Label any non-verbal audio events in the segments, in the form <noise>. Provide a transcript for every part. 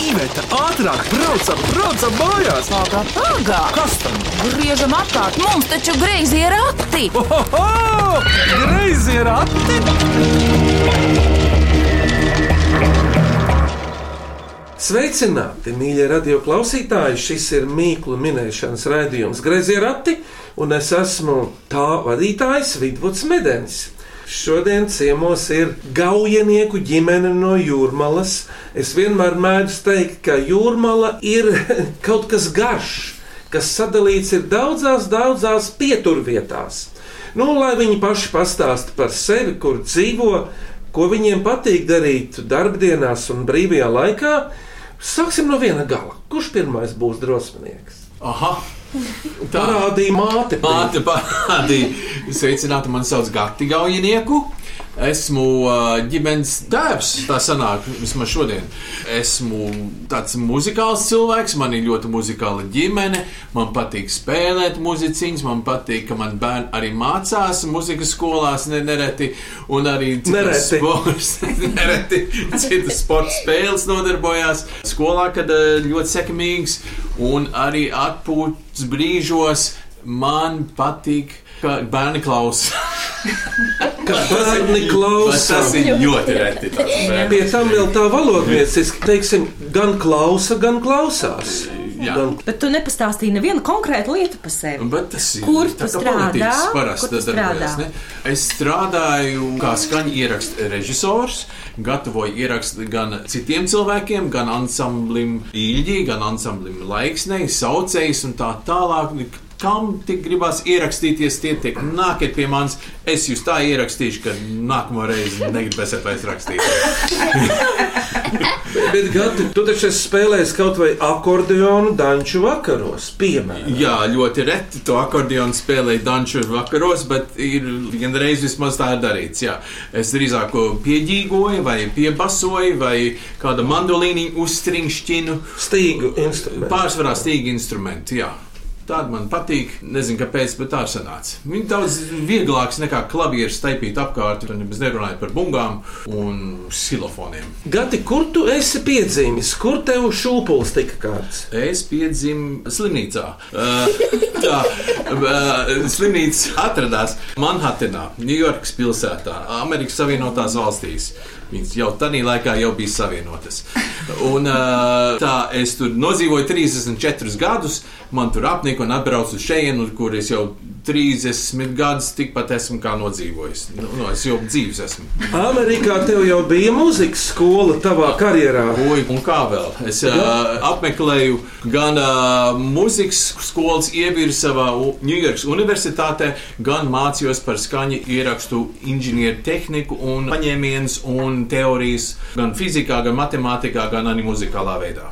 Iveta, ātrāk, braucam, braucam mājās! Pagā, pagā! Kas tam? Griežam apkārt, mums taču greizi ir akti! Ohoho! Greizi ir ati! Sveicināti, mīļie radio klausītāji! Šis ir mīklu minēšanas raidījums Grezierati, un es esmu tā vadītājs Vidvuds Medens. Šodien ciemos ir gaujenieku ģimene no Jūrmalas. Es vienmēr mēdzu teikt, ka Jūrmala ir <laughs> kaut kas garš, kas sadalīts ir daudzās, daudzās pieturvietās. Nu, lai viņi paši pastāsta par sevi, kur dzīvo, ko viņiem patīk darīt darbdienās un brīvajā laikā. Sāksim no viena gala. Kurš pirmais būs drosminieks? Aha! Tā Parādīja māte. māte parādīja. Sveicināti, mani sauc Gati Gaujinieku. Esmu ā, ģimenes tēvs, tā sanāk, vismaz šodien. Esmu tāds muzikāls cilvēks, man ir ļoti muzikāla ģimene, man patīk spēlēt muziciņas, man patīk, ka man bērni arī mācās muzikas skolās ne, nereti, un arī citas Nereti. sports, <laughs> nereti citas sporta spēles nodarbojās. Skolā, kad eh, ļoti sekmīgs, un arī atpūtas brīžos man patīk, ka bērni klausās. Kad bērni klausās. Tas ir ļoti reti. tāds bērns. Pie tam vēl tā valodnieciski, teiksim, gan klausa, gan klausās. Jā. Gan Bet tu nepastāstīji nevienu konkrētu lietu par sevi. Bet tas ir Kur tā tu kā strādā? politikas Kur tu parasti darbojas. strādā? ne? Es strādāju kā skaņu ierakstu režisors, gatavoju ierakstu gan citiem cilvēkiem, gan ansamblim īļģī, gan ansamblim laiksnei, saucējs un tā tālāk. Kam tik gribās ierakstīties, tie tiek nākiet pie manis. Es jūs tā ierakstīšu, ka nākamā reize negribēsiet vairs rakstīt. Bet, Gati, tu taču esi spēlējis kaut vai akordeonu danču vakaros, piemēram. Jā, ļoti reti to akordeonu spēlēju danču vakaros, bet ir vienreiz vismaz tā ir darīts. Jā. Es drīzāk ko pieģīgoju, vai piebasoju, vai kādu mandolīnu uzstringšķinu. Stīgu instrumentu. Pārsvarā stīgi instrumenti. Jā. Tāda man patīk. Nezinu, kāpēc, bet tā ir sanāca. Viņa daudz vieglāks nekā klavieris taipīt apkārt, un nemaz nerunājot par bungām un silofoniem. Gati, kur tu esi piedzimis? Kur tev šūpulis tika kārts? Es piedzimu slimnīcā. Uh, tā uh, slimnīca atradās Manhatanā, Ņujorkas pilsētā, Amerikas Savienotās valstīs. Viņas jau tajā laikā jau bija savienotas. Un, uh, tā es tur nodzīvoju 34 gadus, man tur apnika un atbraucu uz šejienu, kur es jau 30 gadus tikpat esmu kā nodzīvojis. Nu, nu, es jau dzīves esmu. Amerikā tev jau bija mūzikas skola tavā karjerā. Oi, un kā vēl? Es uh, apmeklēju gan uh, muzikas skolas ievirzi savā U- Ņujorkas universitātē, gan mācījos par skaņu ierakstu inženieru tehniku un paņēmienus un teorijas gan fizikā, gan matemātikā, gan arī muzikālā veidā.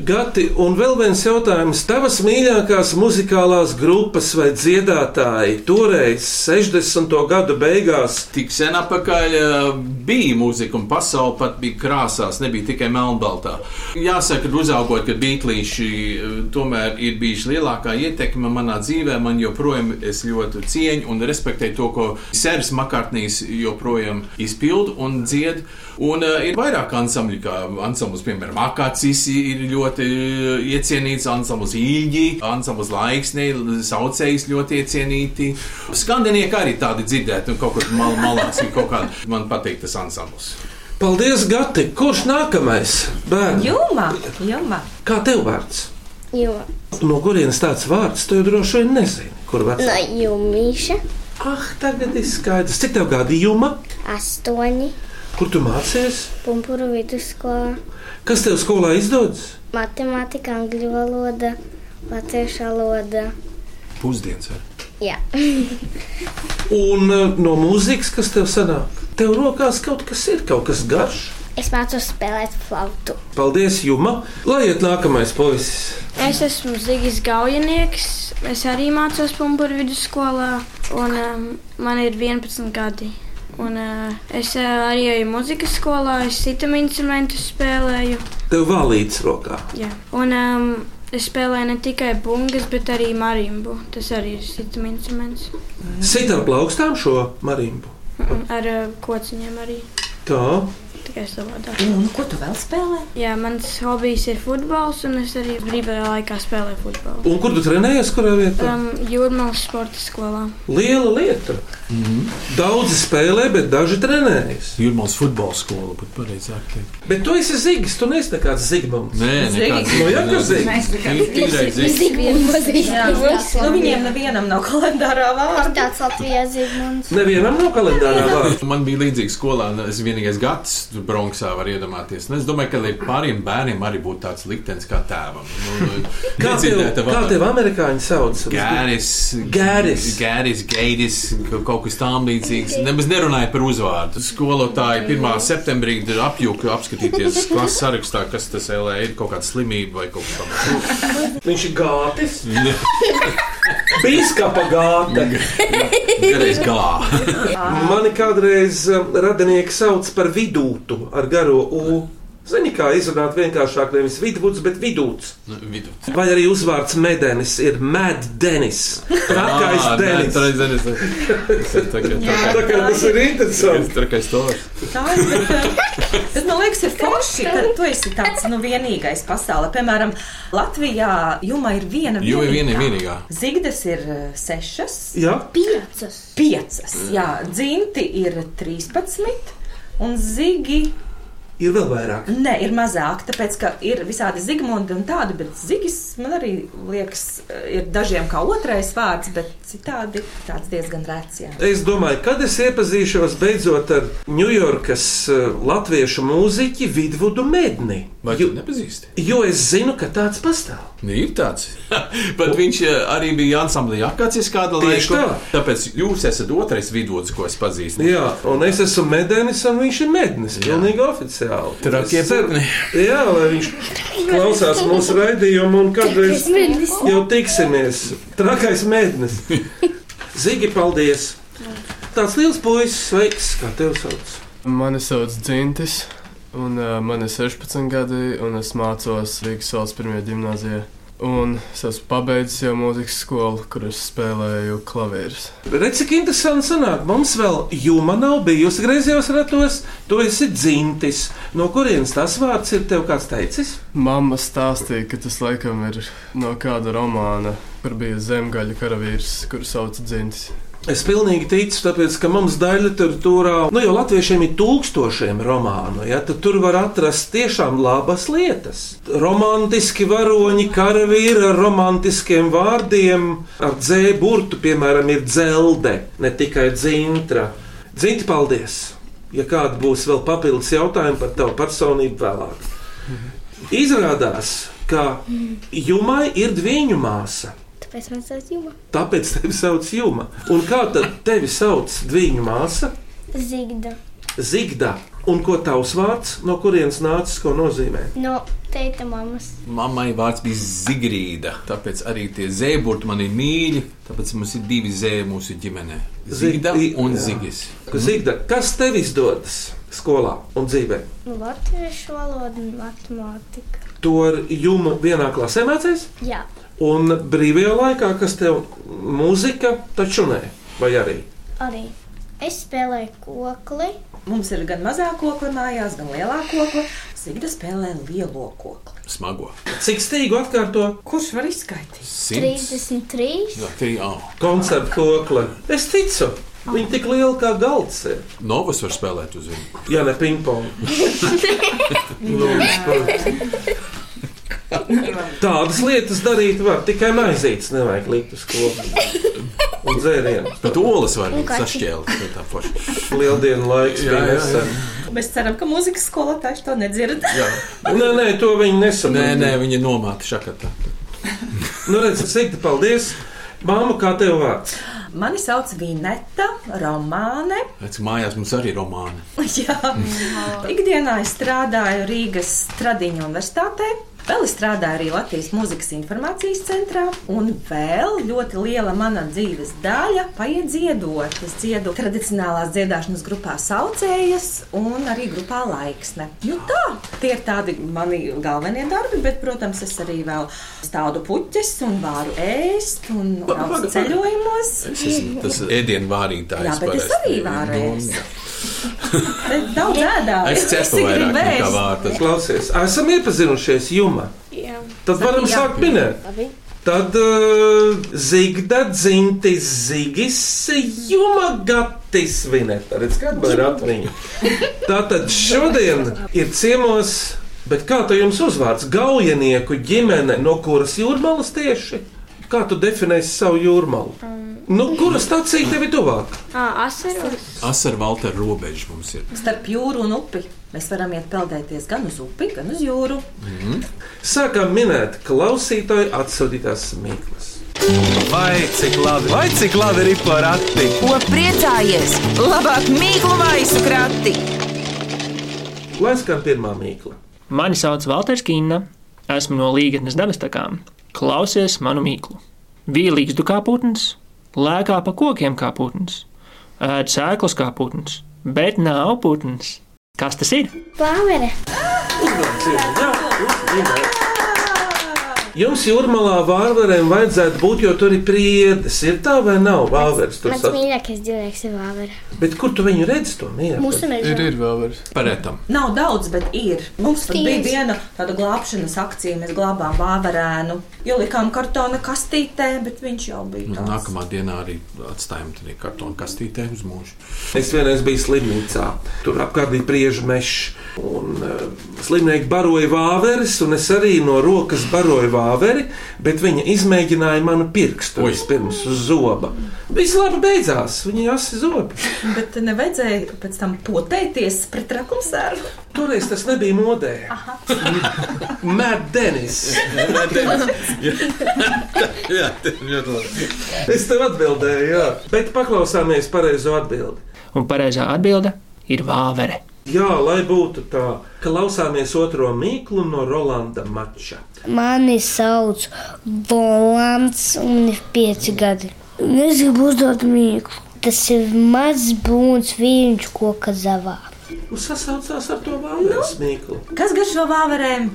Gati, un vēl viens jautājums. Tavas mīļākās muzikālās grupas vai dziedātāji toreiz 60. gadu beigās Tik sen atpakaļ uh, bija mūzika, un pasaule pat bija krāsās, nebija tikai melnbaltā. Jāsaka, ka uzaugot, kad beatlīši uh, tomēr ir bijuši lielākā ietekme manā dzīvē, man joprojām es ļoti cieņu un respektēju to, ko Sērs Makartnīs joprojām izpild un dzied. Un uh, ir vairāk ansambļu, kā ansamblis, piemēram, Akācis ir ļoti uh, iecienīts, ansamblis Īļģi, ansamblis Laiksnē, saucējs ļoti iecienīti. Skandinieki arī tādi dzirdēti, un kaut kur mal, malās ir kaut kāda. Man patīk tas ansamblis. Paldies, Gati! Kurš nākamais? Bērni! Jumā, jumā. Kā tev vārds? Jo, No kurienes tāds vārds? Tu jau droši vien nezini, kur no vecāks. jumīša Ah, tagad ir skaidrs. Cik tev gadi juma? astoņi Kur tu mācies? pumpuru vidusskolā, Kas tev skolā izdodas? matemātika, angļu valoda, latviešu valoda. Pusdienas ar Jā, <laughs> Un eh, no mūzikas, kas tev sanāk? Tev rokās kaut kas ir, kaut kas garš. es mācos spēlēt flautu. Paldies, Juma! Lai iet nākamais puisis! Es esmu Zigis Gaujanieks. Es arī mācos Punkūru vidusskolā, un um, man ir 11 gadi. Un, uh, es uh, arī eju muzikas skolā, es citam instrumentu spēlēju. Tev valīts rokā. Jā. Un um, es spēlēju ne tikai bungas, bet arī marimbu. Tas arī ir citam instruments. Sit ar plaukstām šo marimbu. Un Ar uh, kociņiem arī. Tā, tikai savādāk. Un ko tu vēl spēlē? Jā, mans hobijs ir futbols, un es arī brīvajā laikā spēlēju futbolu. Un kur tu trenējies, kurā vietā? Um, Jūrmālas sporta skolā. Liela lieta. Daudzi spēlē, bet daži trenējas. Jurmāls futbola skola, bet pareizāk teikt. Bet tu esi Zigis, tu neesi nekāds Zigmants. Nē, nekāds. No Jākas Zigis. Zigmāls. Nu, viņiem nevienam nav kalendārā vārda. Tāds Latvijā zigmants. Nevienam no kalendārā vārds. Man bija līdzīga skolā, un es vienīgais gads Bronxā var iedomāties. Un es domāju, ka lai pāriem bērniem arī būtu tāds liktenis kā tēvam. Nu, Kā tev, nedzirdēta kā vārda. tev amerikāņi sauc? Gēris, Gēris. Gēris, Gēris, kaut kas tam līdzīgs. Nemaz nerunāja par uzvārdu. Skolotāji 1. septembrī ir apjūka apskatīties klases sarakstā, kas tas LA ir kaut kāda slimība vai kaut kas tāds. Viņš ir gātis. Bīskapa gāta. Gēris gā. Mani kādreiz um, radinieki sauc par vidūtu ar garo U. Zini, kā izrunāt vienkāršāk, nevis vidūts, bet vidūts. Vidu. Vai arī uzvārds Medenis ir Meddenis. Trakais Ā, nē, Denis. trakais Ah, Denis. Tas ir tā kā- Tā tā kā tas ir interesanti. kā- Trakais tors. Tā ir. Bet, bet man liekas, ir forši, ka tu esi tāds nu vienīgais pasaulē. Piemēram, Latvijā jumā ir viena. Jo ir viena vienīgā. vienīgā. Zigdas ir eh, sešas, Jā, Piecas. piecas. Jā, dzimti ir 13. Un zigi, ir vēl vairāk. nē, ir mazāk, tāpēc, ka ir visādi zigmundi un tādi, bet zigis man arī liekas, eh, ir dažiem kā otrais vārds, bet citādi tāds diezgan rēts, jā. Es domāju, kad es iepazīšos beidzot ar Ņujorkas eh, latviešu mūziķi Vidvudu Medni. Vai Jo, tu nepazīsti? jo es zinu, ka tāds pastāv. Nu, Ir <laughs> tāds. Bet viņš eh, arī bija ansamblī Akācis kādu Tieši laiku. tā. Tāpēc jūs esat otrais vidots, ko es pazīstu. Jā, un es esmu Medenis, un viņš ir Mednis. Pilnīgi oficiāli. Trakie Es ceru- putni. Jā, lai viņš klausās mūsu raidījumu un kādreiz Mednis. jau tiksimies. Trakais Mednis. Zigi, paldies! Tāds liels puisis, sveiks, kā tev sauc. Mani sauc Dzintis, un uh, man ir 16 gadi, un es mācos Rīgas valsts pirmajā gimnājā. Un es esmu pabeidzis jau mūzikas skolu, kur es spēlēju klavierus. Redz, cik interesanti sanāk. Mums vēl juma nav bijusi griezījos ratos. Tu esi dzintis. No kurienes tas vārds ir tev kāds teicis? Mama stāstīja, ka tas laikam ir no kāda romāna, kur bija zemgaļa karavīrs, kuru sauc Dzintis. Es pilnīgi ticu, tāpēc, ka mums daļa literatūrā, nu jau latviešiem ir tūkstošiem romānu, ja tad tur var atrast tiešām labas lietas. Romantiski varoņi, karavīri ar romantiskiem vārdiem, ar dzēbu burtu, piemēram, ir dzelde, ne tikai dzintra. Dzinti, paldies! Ja kāda būs vēl papildus jautājumi par tavu personību vēlāk. Izrādās, ka Jumai ir dviņu māsa. Tāpēc man sauc Juma. Tāpēc tevi sauc Juma. Un kā tad tevi sauc viņa māsa Zigda. Zigda? Un ko tavs vārds, no kurienes nācis, ko nozīmē? No teita mammas. Mammai vārds bija Zigrīda, tāpēc arī tie zēburti man ir mīļi. Tāpēc mums ir divi zēni mūsu ģimenē. Zigda Zigdi- un jā. Zigis. Zigda, kas tev izdodas skolā un dzīvē? Nu, Latviešu valoda un matemātika. To ar Jumu vienā klasē mācījies, Jā. un brīvajā laikā, kas tev mūzika, taču nē, vai arī? Arī. Es spēlēju kokli. Mums ir gan mazā kokla mājās, gan lielā kokla. Sigda spēlē lielo kokli. Smago. Cik stīgu atkārto Kurš var izskaidrot? Simts. 33. Jā, tie jau. koncertu kokli? Es ticu, viņi tik lieli kā galds ir. Novas var spēlēt uz viņu. Jā, ne pingpong. Nu, par- Tādas lietas darīt var tikai maizītes, nevajag likt uz skolu. Un dzērienu. Bet olas var Un kaķi. sašķēlēt. tā ir tā forša. Lieldienu laiks Jā, bija jā, jā. nesen. Mēs ceram, ka mūzikas skolotājs to nedzird. Jā. Nē, nē, to viņi Nē, nesaprot. nē, viņa nomāta šakatā. Nu, redziet, Sigta, paldies! Māma, kā tev vārds? Mani sauc Vineta, Romāne. Redz, mājās mums arī <laughs> romāni. Jā. Ikdienā es strādāju Rīgas Tradiņu universitātē. Vēl es strādāju arī Latvijas Mūzikas informācijas centrā, un vēl ļoti liela mana dzīves daļa paiet dziedot. Es dziedu tradicionālās dziedāšanas grupā Saucējas un arī grupā Laiksne. Nu tā, tie ir tādi mani galvenie darbi, bet, protams, es arī vēl stādu puķes un vāru ēst un braucu ceļojumos. Es esmu tas ēdienvārītājs. Jā, bet es parasti. arī vāru Nu, ēst. jā. <laughs> Bet Daudz ēdāju. Nu, Es cepu vairāk nekā vārtas. Klausies, esam iepazinušies jumā. Jā. Tad varam jā. sākt minēt. Labi. Tad uh, zigda dzimtis zigis juma gatis vinet. Redz, kad man ir atmiņa. Tātad šodien ir ciemos, bet kā tu jums uzvārds? Gaujenieku ģimene, no kuras jūrmalas tieši? Kā tu definēsi savu jūrmalu? Nu, kura stacija tev ir tuvāk? À, Ah, asaros. Asar Valter robeža mums ir. Starp jūru un upi mēs varam iet peldēties gan uz upi, gan uz jūru. Sākām minēt klausītāju atsūtītās smieklus. Vai cik labi, vai cik labi ir pa rati? Ko priecājies? Labāk mīklu maisu krati! Lai skan pirmā mīkla. Mani sauc Valters Kīna, esmu no Līgatnes dabastakām. Klausies manu mīklu. Vīlīgs du kā putns, lēkā pa kokiem kā putns, ēd sēklas kā putns, bet nav putns. Kas tas ir? Pāvere. Jums jūrmalā vārvarēm vajadzētu būt, jo tur ir priedes. Ir tā vai nav vārvars tur Mans sasprāst? mīļākais dzīvnieks ir vāvera. Bet kur tu viņu redz to mieru? Mūsu Ir, mežā. ir vēl vairs. Paretam. Nav daudz, bet ir. Mums pat bija Tiesa. viena tāda glābšanas akcija. Mēs glābām vāverēnu. Ielikām kartona kastītē, bet viņš jau bija tāds. Nu, Nākamā dienā arī atstājam to kartonu kastītē uz mūžu. Es vienreiz biju slimnīcā. Tur apkārt bija priežu mežs. Un uh, slimnieki baroja vāveres, un es arī no rokas baroju vāveri, bet viņa izmēģināja manu pirkstu Oi. pirms uz zoba. Viss labi beidzās, viņa jāsaka zobi. Bet nevajadzēja pēc tam potēties pret rakumsēru. Toreiz tas nebija modē. <laughs> Mad <laughs> Denis. Jā, ļoti labi. Es tev atbildēju, jā. Bet paklausāmies pareizo atbildi. Un pareizā atbilde ir vāvere. Jā, lai būtu tā, ka klausāmies otro mīklu no Rolanda Mača. Mani sauc Volants un ir pieci gadi. Es gribu uzdot mīklu. Tas ir mazs būns viņš koka zavā. Nu, sasaucās ar to vāveres Nu? mīklu. Kas garšo vāverēm?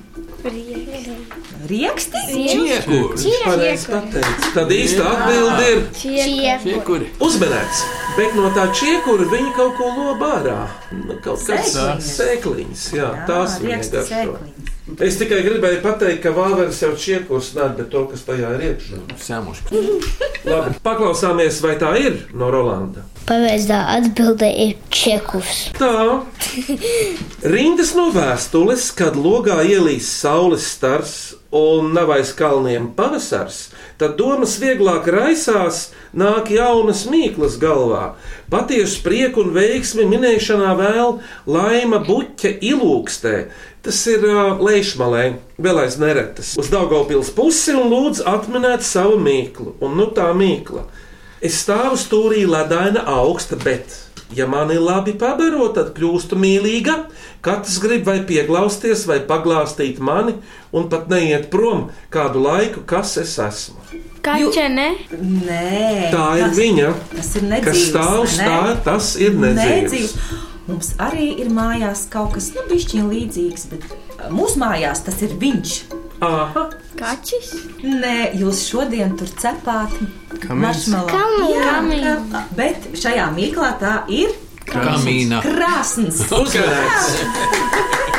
Rieksti? Čiekuri! Viņš pareizi pateica. Tad īsta atbilde ir Čiekuri! uzmanēts. Bet no tā čiekura viņa kaut ko lobā ārā. Nu, Kaut kāds Sēkliņas. sēkliņas, jā, tās viņa rieksti garšo. sēkliņas. Es tikai gribēju pateikt, ka vāveres jau čiekurs nāk, bet to, kas tajā ir iekšā. Sēmušķi! Labi, paklausāmies, vai tā ir no Rolanda. Pareizā atbildē ir čekurs. Tā rindas no vēstules, kad logā ielīs saules stars un nav aiz kalniem pavasars, tad domas vieglāk raisās, nāk jaunas mīklas galvā. Patiesu prieku un veiksmi minēšanā vēl laima buķa ilūkstē. Tas ir uh, Leišmalē, vēl aiz neretas, uz Daugaupils pusi un lūdzu atminēt savu mīklu. Un nu tā mīkla. Es stāvu stūrī ledaina augsta, bet, ja mani labi pabaro, tad kļūstu mīlīga. Katrs grib vai pieglausties, vai paglāstīt mani, un pat neiet prom kādu laiku, kas es esmu. Kaķe, ne? Nē, Tā ir tas- viņa, Tas ir nedzīvs. kas stāv vai ne? stāv, tas ir Nedzīvs. nedzīvs. Mums arī ir mājās kaut kas nu, bišķiņ līdzīgs, bet ā, mūsu mājās tas ir viņš. Aha, Kaķis? Nē, jūs šodien tur cepāt Kamīns. maršmalu. Jā, ka- bet šajā mīklā tā ir Kamīna! krāsns. <laughs> uzmanīgs!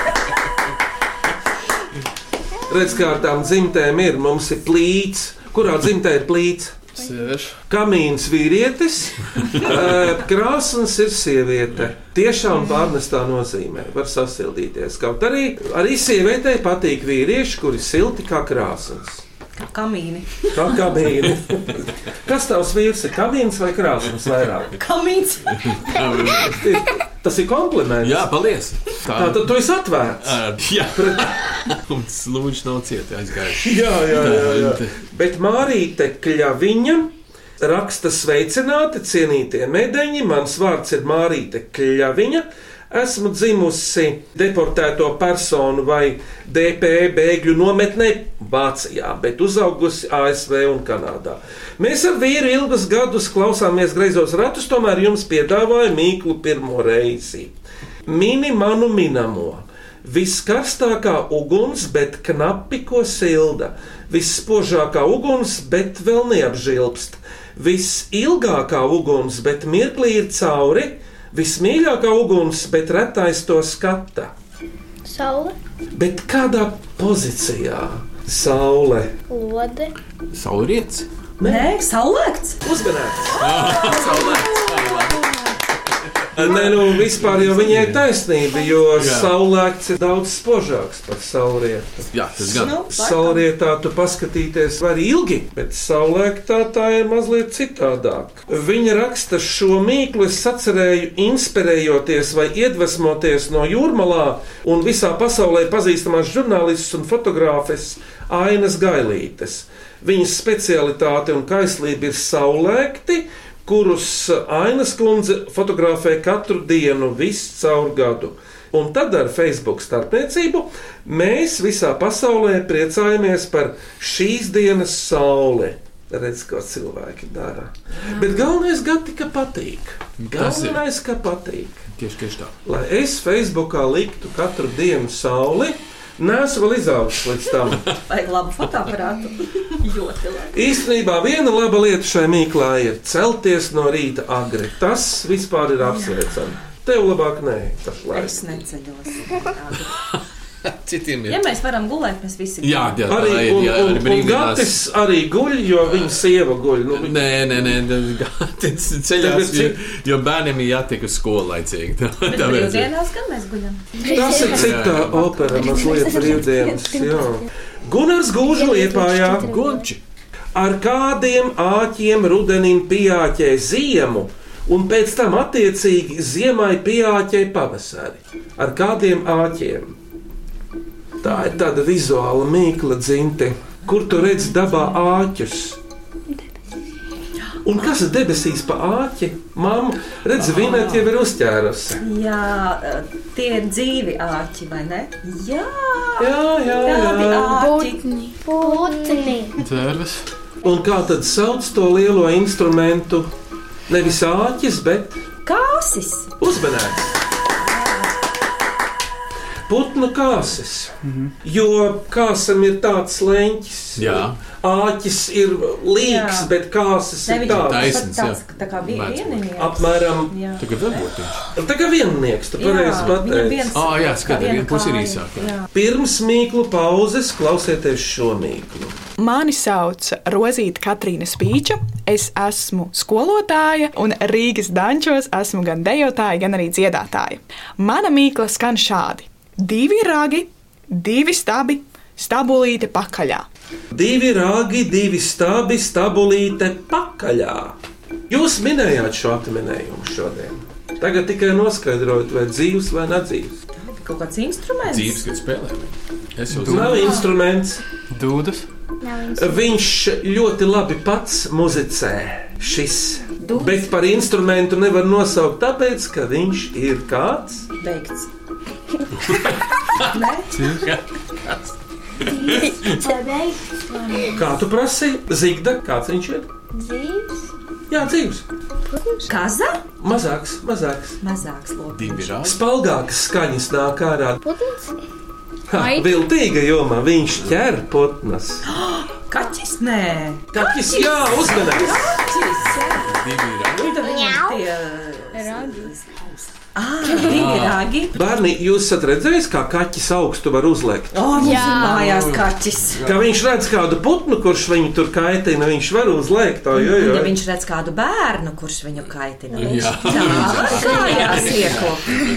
Redz, kā ar tām dzimtēm ir. Mums ir plīts. Kurā dzimtē ir plīts? Sieviešu. Kamīns vīrietis, eh, krāsns ir sieviete. Tiešām pārnestā nozīmē, var sasildīties. Kaut arī arī sievietei patīk vīrieši, kuri silti kā krāsns. Kamīni. Kā kamīni. Kas tavs vīrs ir? Kamīns vai krāsns vairāk? Kamīns. Ir- Tas ir kompliments. Jā, paldies! Tā tad tu esi atvērts. Ā, Jā, <laughs> un slūdz nav cieti aizgājuši. <laughs> Jā, jā, jā. jā. Bet Mārīte Kļaviņa raksta sveicināti, cienītie medaļi. Mans vārds ir Mārīte Kļaviņa. Esmu dzimusi deportēto personu vai DP bēgļu nometnē Vācijā, bet uzaugusi ASV un Kanādā. Mēs ar vīru ilgus gadus klausāmies greizos ratus, tomēr jums piedāvāja mīklu pirmo reizi. Mini manu minamo. Viskarstākā uguns, bet knapi ko silda. Visspožākā uguns, bet vēl neapžilbst. Visilgākā uguns, bet mirklī ir cauri. Vismīļākā uguns, bet retais to skata. Saule, Bet kādā pozīcijā saule? lode, Saulriets. Nē, saulēkts. Uzmanīgs! Nē, nu vispār jau viņai ir taisnība, jo Jā. saulēkts ir daudz spožāks par saulrietu. Jā, tas gan. Nu, laikam. Saulrietā tu paskatīties var ilgi, bet saulēktā tā ir mazliet citādāk. Viņa raksta šo mīklu, es atcerēju, inspirējoties vai iedvesmoties no jūrmalā un visā pasaulē pazīstamās žurnālistas un fotogrāfes Ainas Gailītes. Viņas specialitāte un kaislība ir saulēkti, kurus Ainas kundze fotografē katru dienu, visu caur gadu. Un tad ar Facebook starpniecību mēs visā pasaulē priecājamies par šīs dienas sauli. Redz, ko cilvēki dara. Bet galvenais gati, ka patīk. Tas ir. Galvenais, ka patīk. Tieši, tieši tā. Lai es Facebookā liktu katru dienu sauli, nesu vēl izaugs līdz <laughs> tam. Vajag labu fotoaparātu. <laughs> Ļoti labi. Īstenībā viena laba lieta šai mīklā ir celties no rīta agri. Tas vispār ir apsveicami. Tev labāk nē, pašlaik. Es neceļos. <laughs> Citiem Ja mēs varam gulēt, mēs visi Jā, jā, tā Arī, ir. un, Jā, un, arī un Gatis brīvdienas. arī guļ, jo viņa sieva guļ. Nu, vi- Nē, nē, nē, tas ir ceļš. Tagad Jo, cik- jo bērniem ir jātiek uz skolu laicīgi. <laughs> Tā, Bet tāpēc ir. brīvdienās gan mēs guļam. tas ir cita Jā. opera, mazliet brīvdienas. jā. Gunārs Gūžu liepājā. Gunči. Ar kādiem āķiem rudenim pijāķē ziemu, un pēc tam attiecīgi ziemai pijāķē pavasari? Ar kādiem āķiem? Tā ir tāda vizuāla mīkla dzinte, kur tu redz dabā āķus. Un kas ir debesīs pa āķi? Māma, redz, vinēt jau ir uzķērusi. Jā, eh, tie ir dzīvi āķi, vai ne? Jā, Jā, jā, tādi jā. āķi. Putni. putni, Dzērves, Un kā tad sauc to lielo instrumentu? Nevis āķis, bet Kāsis. Uzmanīgs! Putnu kāsas. Mm -hmm. Jo kāsam ir tāds leņķis, Jā. āķis ir līgs, Jā. jā. bet kāsas Ne, ir viņš ir tāds. Taisnīgs, tāds, tāds, jā. tā kā bija Mēdz būt. vienīgais. Apmēram Jā. Tagad varbūt viņš. tā kā viennieks, tu pareizi viņam pateici. viens- Ā, jā, skat, viena viena puse ir kāja. īsāka. Jā. Pirms mīklu pauzes klausieties šo mīklu. Mani sauc Rozīta Katrīna Spīča. Es esmu skolotāja un Rīgas dančos esmu gan dejotāja, gan arī dziedātāja. Mana mīkla skan šādi: divi ragi, divi stabi, stabulīte pakaļā. Divi rāgi, divi stābi, stabulīte pakaļā. Jūs minējāt šo atminējumu šodien. Tagad tikai noskaidrojot, vai dzīves vai nedzīves. Kaut kāds instruments. Dzīves, kad spēlē. Es jau Nav zinu. instruments. dūdas, Viņš ļoti labi pats muzicē. Šis. Bet par instrumentu nevar nosaukt, tāpēc, ka viņš ir kāds. Beigts. <laughs> ceļš, Kā tu prasi, Zigda, kāds viņš ir? dzīves, Jā, dzīves. Kaza? Mazāks, mazāks. Mazāks lokus. Divi rādi. Spalgākas skaņas nāk ārā. putns, Ha, Ai. Viltīga jomā viņš ķer putnas. Kaķis? Nē. Kaķis, jā, uzmanīgs! Kaķis. jā. Divi rādi. Nu, tad viņam tie- Ah, Ā, Ah. Divi ragi. Bērni, jūs esat redzējuši, kā kaķis augstu var uzlikt? O, mums ir mājās kaķis. Kā viņš redz kādu putnu, kurš viņu tur kaitina, viņš var uzlikt to Un, Ja jūtu. viņš redz kādu bērnu, kurš viņu kaitina, Mhm. viņš Jā. tā <laughs> kā jāsieko.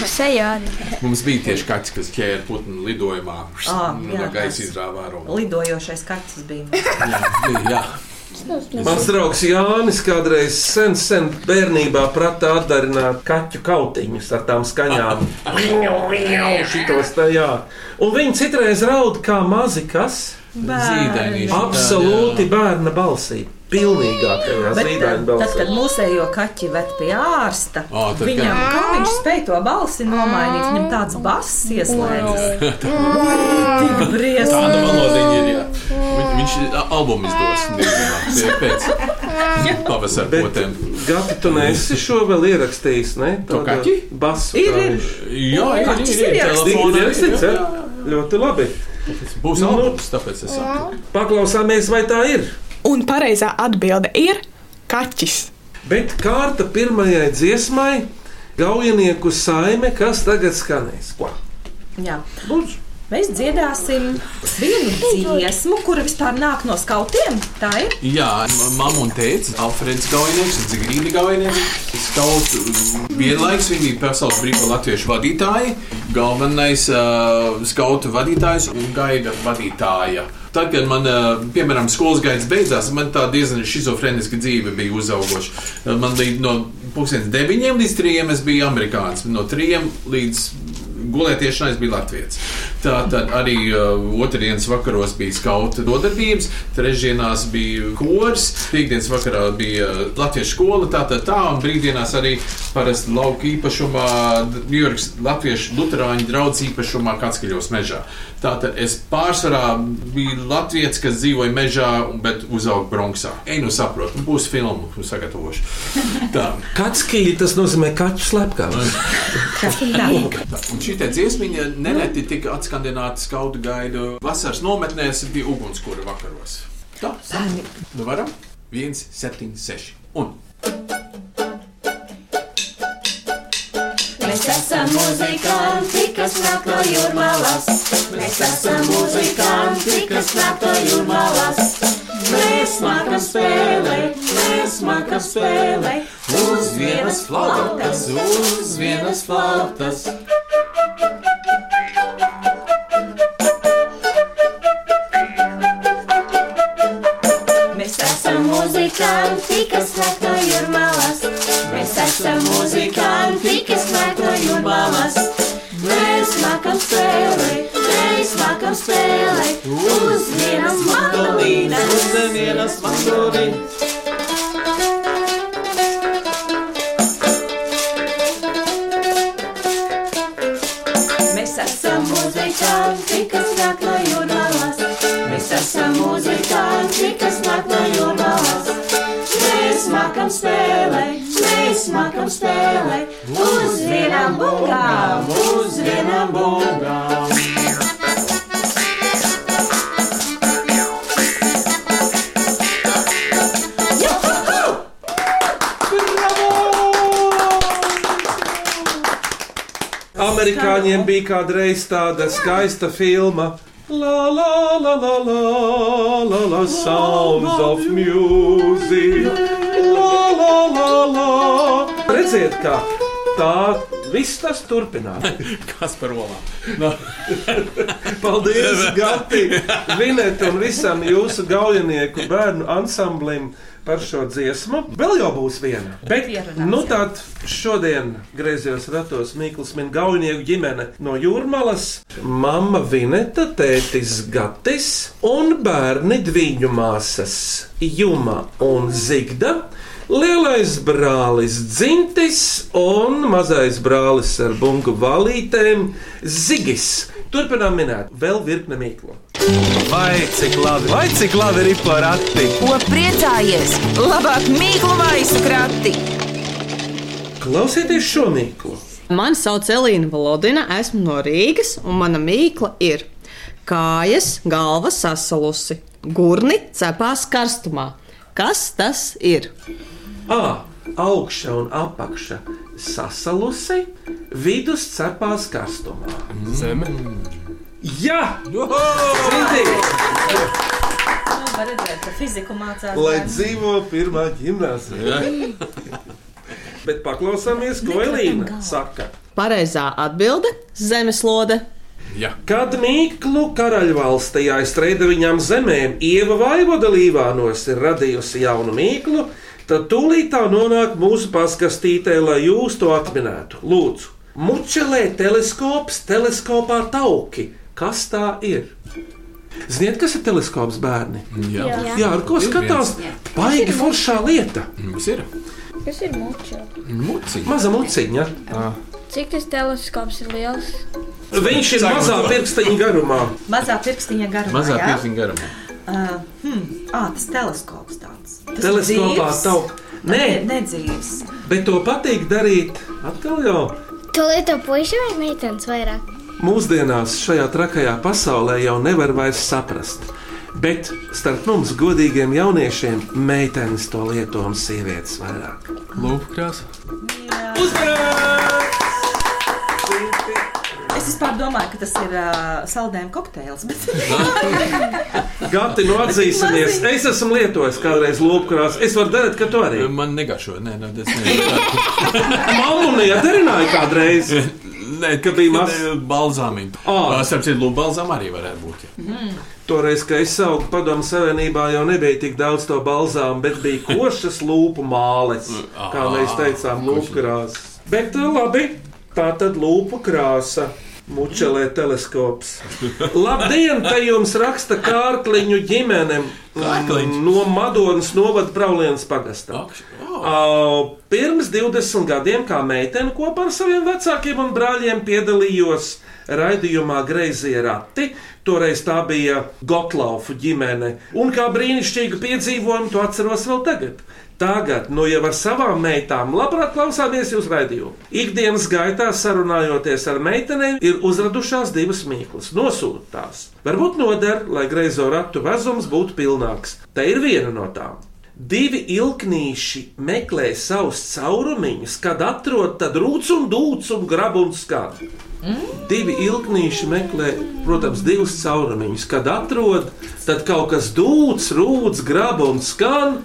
Sejā arī. Mums bija tieši kāds, kas ķēra putnu lidojumā. Ā, Nu, jā, tā tas- gaisa izrāvā robu. Lidojošais kaķis bija. Jā, jā. Mans draugs Jānis kādreiz sen, sen bērnībā prata atdarināt kaķu kautiņus ar tām skaņām. Viņu, viņu, šitos tā, jā. Un viņi citreiz raud kā mazi kas, Zīdainīši. absolūti bērna balsī. pilnīgākajā Bet, eh, zīdaiņa tad, kad balsī. mūsējo kaķi ved pie ārsta, Ā, tad viņam, kā? kā viņš spēja to balsi nomainīt, viņam tāds bass ieslēdzas. Tik Tāda briesmīgi. melodiņa ir. Jā. Viņ- Viņš ā, albumu izdos diezgan pēc <laughs> pavasara Bet- potēm. Gati, tu neesi šo vēl ierakstījis, ne? To Tāda kaķi? Basu. Ir, kā ir. viņš- Jā, jā, Kaķis jā, ir jā, ierakstīts. telefonā Ir ir, ierakstīts, jā, jā? jā. Ļoti labi. Būs Nu, nu. albums, tāpēc es saku. Paklausāmies, vai tā ir. Un pareizā atbilde ir kaķis. Bet kārta pirmajai dziesmai - gaujanieku saime, kas tagad skanēs. Ko? Jā. Lūdzu. Mēs dziedāsim vienu dziesmu, kura vispār nāk no skautiem. Tā ir Jā, ma- mamma un tēvs, Alfrēds Gaunieks un Zigrīda Gaunieks. Skautu mm, vienlaiks viņi bija pasaules brīvā latviešu vadītāji, galvenais uh, skautu vadītājs un gaida vadītāja. Tad, kad man, uh, piemēram, skolas gaitas beidzās, man tā diezgan schizofrēniska dzīve bija uzauguša. Uh, Man bija no 2009 līdz 3 es biju amerikānis, no 3 līdz Gulētiešanā es biju Latvijas. Tā tad arī uh, otrdienas vakaros bija skauta dodarbības, trešdienās bija kurs, piekdienas vakarā bija uh, Latvijas skola, tā tā tā, un brīvdienās arī parasti lauka īpašumā, Jūras Latviešu Lutāņu draugs īpašumā Katskaļos mežā. Tātad es pārsvarā biju Latvijas, kas dzīvoja mežā, bet uzauga Bronxā. Ej, nu saprotu, būs filmu nu sagatavošu. Tā. Kaķis tas nozīmē kaķu slepkavas. kaķa. Un šī dziesmiņa nereti tika atskandināta skautu gaidu vasaras nometnēs pie ugunskura vakaros. Tā, nu varam? 1, 7, 6. Un Mēs esam muzikanti, kas nāk no jūrmālas. Mēs esam muzikanti, kas nāk no jūrmālas. Mēs mākam spēlēt, mēs mākam spēlēt. uz vienas flautas, uz vienas flautas. Mēs esam muzikanti, kas nāk no jūrmālas. Mēs esam muzikanti, kas nāk no jūrmālas. Mēs mākam spēlēt, mēs mākam spēlēt. Uz vienas mandolīnas. Vienas mandolīnas. Mēs esam esam muzikanti, kas nāk no jūrmālas. Mēs esam muzikanti, kas nāk no jūrmālas. Mēs mākam spēlēt, mēs mākam spēlēt. Uz vienām bungām, uz vienām bungām. Amerikāņiem bija kādreiz tāda skaista filma. La la la la la la la sounds of music. La la la la. Redziet, kā tā viss tas turpinās. Kas par olām? Paldies, Gati, Vinet un visam jūsu gaujanieku bērnu ansamblim. Par šo dziesmu vēl jau būs viena. Bet, Pierunāsim. nu, tad šodien griezījos ratos Mikls un Gaunieku ģimene no Jūrmālas. Mama Vineta, tētis Gatis un bērni divu māsas Juma un Zigda. Lielais brālis Zintis un mazais brālis ar bungu valītēm Zigis. Turpinām minēt vēl virkni mīklu. Vai cik labi, vai cik labi ir porati? Ko priecājies? Labāk mīklu maisu krati! Klausieties šo mīklu! Mani sauc Elīna Valodina, esmu no Rīgas, un mana mīkla ir kājas, galva sasalusi, gurni cepās karstumā. Kas tas ir? A. Augšā un apakšā sasalusi, vidus cepās karstumā. Zeme. Jā, Zindi, Nu, Var redzēt, ka fiziku mācās. lai bērni. dzīvo pirmā gimnazija. <laughs> Bet paklausāmies, ko Elīna saka. Pareizā atbilde - zemeslode. Jā, Kad Mīklu karaļvalstī aiz trešdaļām zemēm Ieva Vaivoda Līvānos ir radījusi jaunu mīklu, tad tūlīt tā nonāk mūsu paskastītē, lai jūs to atminētu. Lūdzu, mučelē teleskops, teleskopā tauki. Kas tā ir? Ziniet, kas ir teleskops bērni? Jā. Jā. Jā ar ko skatās? Jā. Baigi foršā lieta. Mums ir Kas ir muča? muciņa. Maza muciņa. Cik tas teleskops ir liels? Viņš ir Sākam mazā to. pirkstiņa garumā. Mazā pirkstiņa garumā. Mazā jā? pirkstiņa garumā. Uh, hmm, ā, tas teleskops tāds. Tas Teleskopā dzīvs? tev. Nē, nedzīves. bet to patīk darīt atkal jau. Tu lieto puikas vai meitenes vairāk? Mūsdienās šajā trakajā pasaulē jau nevar vairs saprast. Bet starp mums, godīgiem jauniešiem, meitenes to lieto un sievietes vairāk. Lūpa krāsa. Es vispār domāju, ka tas ir uh, saldējuma kokteils. Bet... Gati, nu atzīsimies, es esmu lietojis kādreiz lopkrāsu. Es varu darīt, ka to arī. Man negašo, nē, nē, <laughs> tas Mamma nedarināja kādreiz. <laughs> Nē, ka bija maz... balzāmiņa. Oh. Starp citu, lūk, balzām arī varētu būt. Ja. Toreiz, kad es augu padomu savienībā, jau nebija tik daudz to balzām, bet bija košas lūpu māles, kā mēs teicām, lūpu krāsas. Bet eh, labi, tā tad lūpu krāsa. Mučelē teleskops. Labdien, te jums raksta kārkliņu ģimenem Kārkliņš. mm, no Madonas novada Braulienas pagastā. Uh, Pirms 20 gadiem, kā meitene kopā ar saviem vecākiem un brāļiem, piedalījos raidījumā Greizie Rati. Toreiz tā bija Gotlaufu ģimene, un kā brīnišķīgu piedzīvojumu to atceros vēl tagad. Tagad, nu jau ar savām meitām, labprāt klausāmies jūsu raidījumu. Ikdienas gaitā sarunājoties ar meitenēm, ir uzradušās divas mīklas. Nosūtīt tās. Varbūt noder, lai greizo ratu vezums būtu pilnāks. Te ir viena no tām. Divi ilgnīši meklē savus caurumiņus, kad atrod tad rūc un dūc un grab un skan. Divi ilgnīši meklē, protams, divus caurumiņus, kad atrod, tad kaut kas dūc, rūc, grab un skan.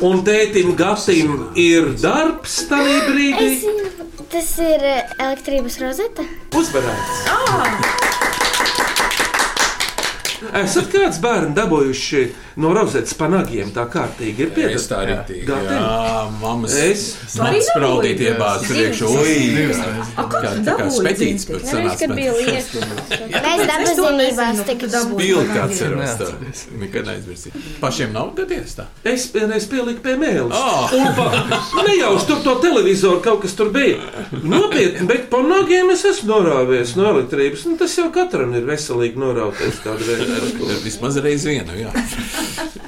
Un tētim Gasim ir darbs tajā Es, brīdī. zinu, tas ir eh, elektrības rozete. Uzvarēts! Esat kāds bērns dabūjuši no rozetes panāgiem, tā kārtīgi ir Es tā arī pietiekami. tīk. Gatavi? Jā, mammas. Es- Man Arī spraudīt dabūju. iebāz priekšu. Divas. Ui, Divas. kā, kā, tu kā dabūji, spetīts zini, pat Nevis, sanāca. kad bija bet- lietas. Jā. Mēs dabas Nu, zinībās tik Pilni atceros to. Nekad neaizmirsīšu. Pašiem nav gadījies tā. Es vienreiz pieliku pie mēlus. Ah. Un pa- Nejauši tur to televizoru kaut kas tur bija. Nopietni, bet par nogiem es esmu norāvies no elektrības. Nu, tas jau katram ir veselīgi norauties kādreiz. Vismaz reiz vienu, jā.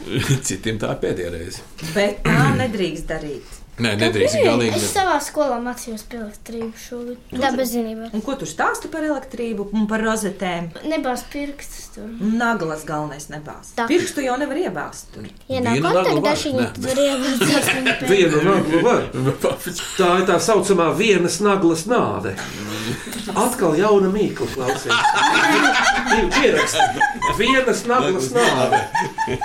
<laughs> Citiem tā pēdējā reize. bet tā nedrīkst darīt. Nē, nedrīkst galīgi. Es savā skolā mācījos par elektrību šogad. Dabas zinībās. Un ko tu stāsti par elektrību un par rozetēm? Nebās pirkstus tur. Naglas galvenais nebāz. Tā. Pirkstu jau nevar iebāzt. tur. Ja nav Vienu nagu var, kontaktdašiņa, ne. tad var ievācīt. <laughs> Vienu naglu var. Tā ir tā saucamā vienas naglas nāve. Atkal jauna mīkla klausās. Pierakstīt. Vienas naglas nāve.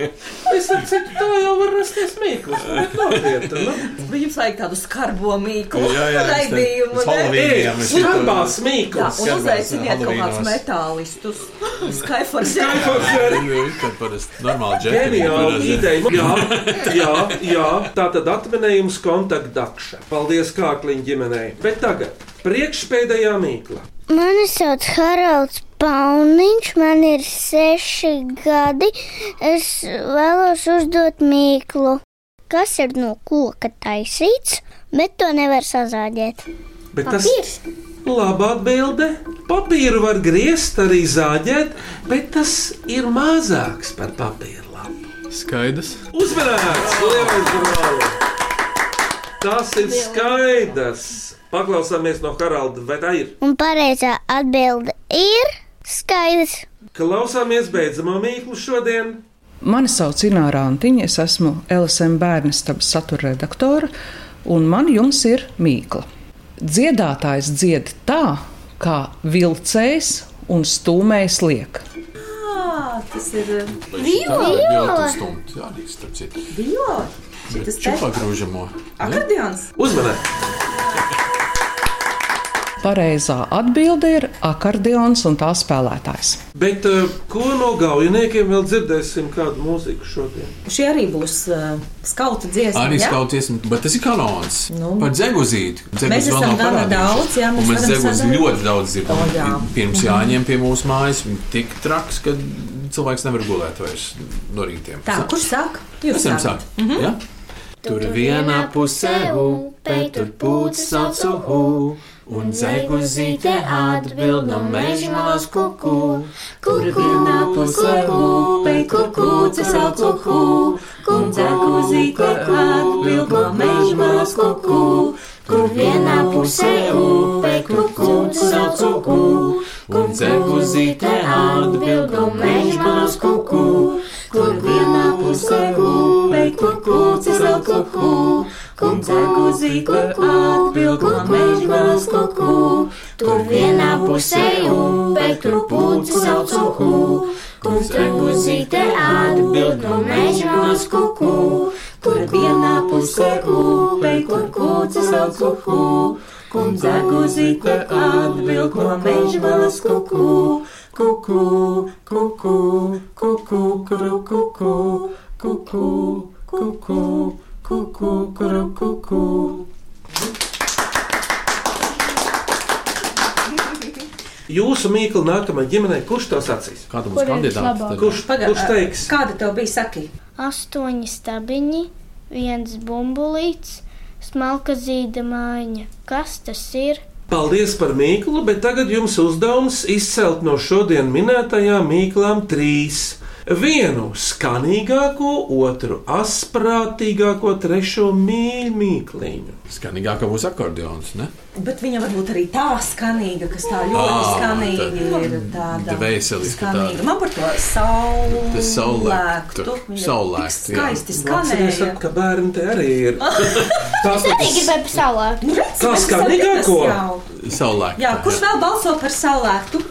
Es saprotu, tā jau var rasties mīklas. nu, bet nopietni, nu. Mm. Viņam vajag tādu skarbo mīklu Jā, jā, es te- raidījumu. uz Halloweeniem es to- Skarbās mīklas. mīklas. Un Skarbās, uzaiciniet kaut kādus Halloweenos. metālistus. <laughs> Skaifors. Tad parasti normāli Geniāla ideja. džekli. Jā, jā, jā. tā tad atminējums kontaktdakša. Paldies Kārkliņa ģimenei. Bet tagad priekšpēdējā mīkla. <laughs> Mani sauc Haralds Pauniņš, man ir seši gadi. Es vēlos uzdot mīklu. Kas ir no koka taisīts, bet to nevar sazāģēt? Bet tas Labā atbilde. Papīru var griezt, arī zāģēt, bet tas ir mazāks par papīru. Skaidrs. Uzmanīgs! Lielais brālis! Tas ir skaidrs! Paklausāmies no Haralda, vai tā ir? Un pareizā atbilde ir skaidrs. Klausāmies beidzamo mīklu šodien. Mani sauc Ināra Antiņa, es esmu LSM bērnu stāvas satura redaktore, un man jums ir mīkla. Dziedātājs dzied tā, kā vilcējs un stūmējs liek. Ā, Tas ir eh, Jā, arī starp citu. Viola. Bet Čupā grūžamo. Akordions. Uzmanīgi! Pareizā atbilde ir akordeons un tā spēlētājs. Bet eh, ko no gaujiniekiem vēl dzirdēsim, kādu mūziku šodien? Šī arī būs uh, skauta dziesma. Arī jā? skauties, bet tas ir kanons. Nu. Par dzeguzīti. Mēs Dzegus vēl esam nav gana parādījuši. daudz, jā, Un mēs mēs varam dzegus sadarboties. ļoti daudz dzirdam. O, jā. Pirms Mhm. jāņem pie mūsu mājas, tik traks, ka cilvēks nevar gulēt vairs no rītiem. Tā, kurš Mhm. sāk? Jūs Esam sākat. sākt. Ja? Tur vienā pusē upei, tur pūcis sauc uhu, un dzeguzīte atbild no meža malas kuku. Kur vienā pusē upei, kur pūcis sauc uhu, un dzeguzīte atbild no meža malas kuku. Kur vienā pusē upei, kur pūcis sauc uhu, un dzeguzīte atbild no meža malas kuku. Kur vienā pusē upei, kur pūcis sauc uhu, un dzeguzīte atbild no meža malas kuku. Tur vienā pusē upei, tur pūcis sauc uhu, kur dzeguzīte atbild no meža malas kuku. Kur vienā pusē upei, kur pūcis sauc uhu, un dzeguzīte atbild no meža malas kuku. Kuku, kuku, kuku, kuru, kuku, kuku, kuku, kuku, kuru, kuku. Jūsu mīklu nākamajai ģimenei, kurš to sacīs? Kāda būs Kur ir kandidāte vislabāk? tad? Kurš, Paga- kurš teiks? Kāda tev bija sakī? Astoņi stabiņi, viens bumbulīts, smalka zīda mājiņa. Kas tas ir? Paldies par mīklu, bet tagad jums uzdevums izcelt no šodien minētajām mīklām trīs. Vienu skanīgāko, otru asprātīgāko, trešo mīļu mīkliņu. Skanīgākā būs akordeons, ne? Bet viņa varbūt arī tā skanīga, kas tā ļoti Ā, skanīga tā- ir. Tāda dvēseliska tāda. skanīga. Man par to saulu. Tas saulēktu. Viņa Saulēktu, tik jā. Skaisti skanēja. Nu, ka bērni te arī ir. Tas pasaulēt. Nu, Tā skanīgāko? Saulēktu. Jā, kurš vēl balso par saulēktu?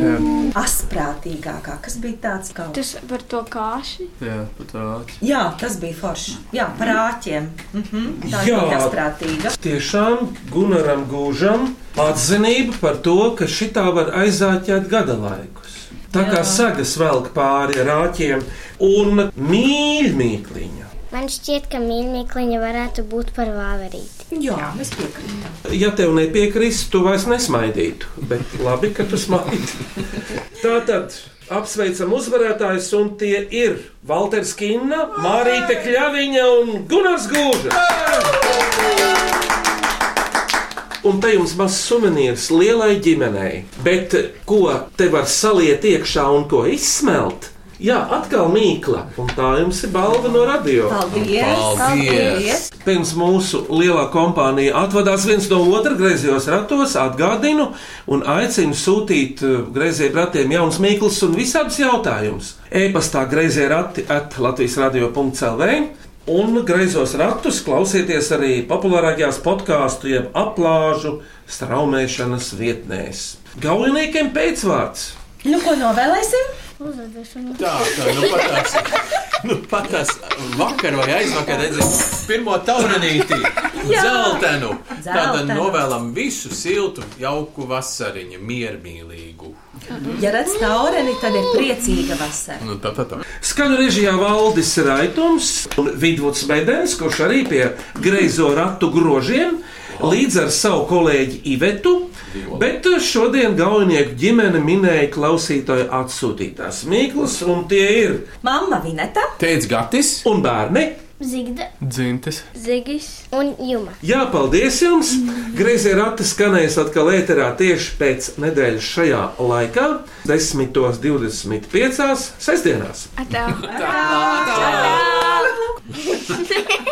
Jā, Asprātīgākā, kas bija tāds kā. Tas par to kāši. jā pat tā. Jā, tas bija forši. Jā, par āķiem. Mhm, Tā ir Jā. ļoti asprātīga. Tiešām Gunaram Gūžam atzinība par to, ka šitā var aizāķēt gada laikus. Tā kā sagas velk pāri rāķiem un mīļ mīkliņa. Man šķiet, ka mīļākā varētu būt par vāverīti. Jā, mēs piekrītam. Ja tev nepiekrist, tu vairs nesmaidītu. Bet labi, ka tu smaidi. Tā tad apsveicam uzvarētājus, un tie ir Walters Kina, Mārīte Kļaviņa un Gunārs Gūža. Un te jums mazs suvenīrs lielai ģimenei. Bet ko te var saliet iekšā un ko izsmelt? Jā, atkal mīkla. Un tā jums ir balva no radio. Paldies! Paldies. Pirms mūsu lielā kompānija atvadās viens no otra griezījos ratos, atgādinu un aicinu sūtīt eh, griezēju ratiem jaunus mīklus un visādus jautājumus. E-pastā griezēju rati at Latvijas radio.cl. Un griezos ratus klausieties arī populārākajās podkāstu jeb aplāžu straumēšanas vietnēs. Gaujiniekiem pēcvārds! Nu, ko novēlēsim? Tā, tā, nu pat tās, nu pat tās vakar vai aizvakar redzēju pirmo taurinīti, Jā. zeltenu. Tātad Dzeltenu. novēlam visu siltu, jauku vasariņu, miermīlīgu. Ja redz taureni, tad ir priecīga vasara. Nu, tā, tā, tā. Skaņu režijā valdis Raitons un Vidvuds Medens, kurš arī pie greizo ratu grožiem līdz ar savu kolēģi Ivetu. Bet šodien galvenieku ģimene minēja klausītāju atsūtītās mīklas, un tie ir Mama Vineta, Teic Gatis un bērni. Zigda, Dzintis. Zigis un Juma. Jā, paldies jums! Greizie rati skanēs atkal ēterā tieši pēc nedēļas šajā laikā, 10.25. sestdienās. Atā. Tā. Atā.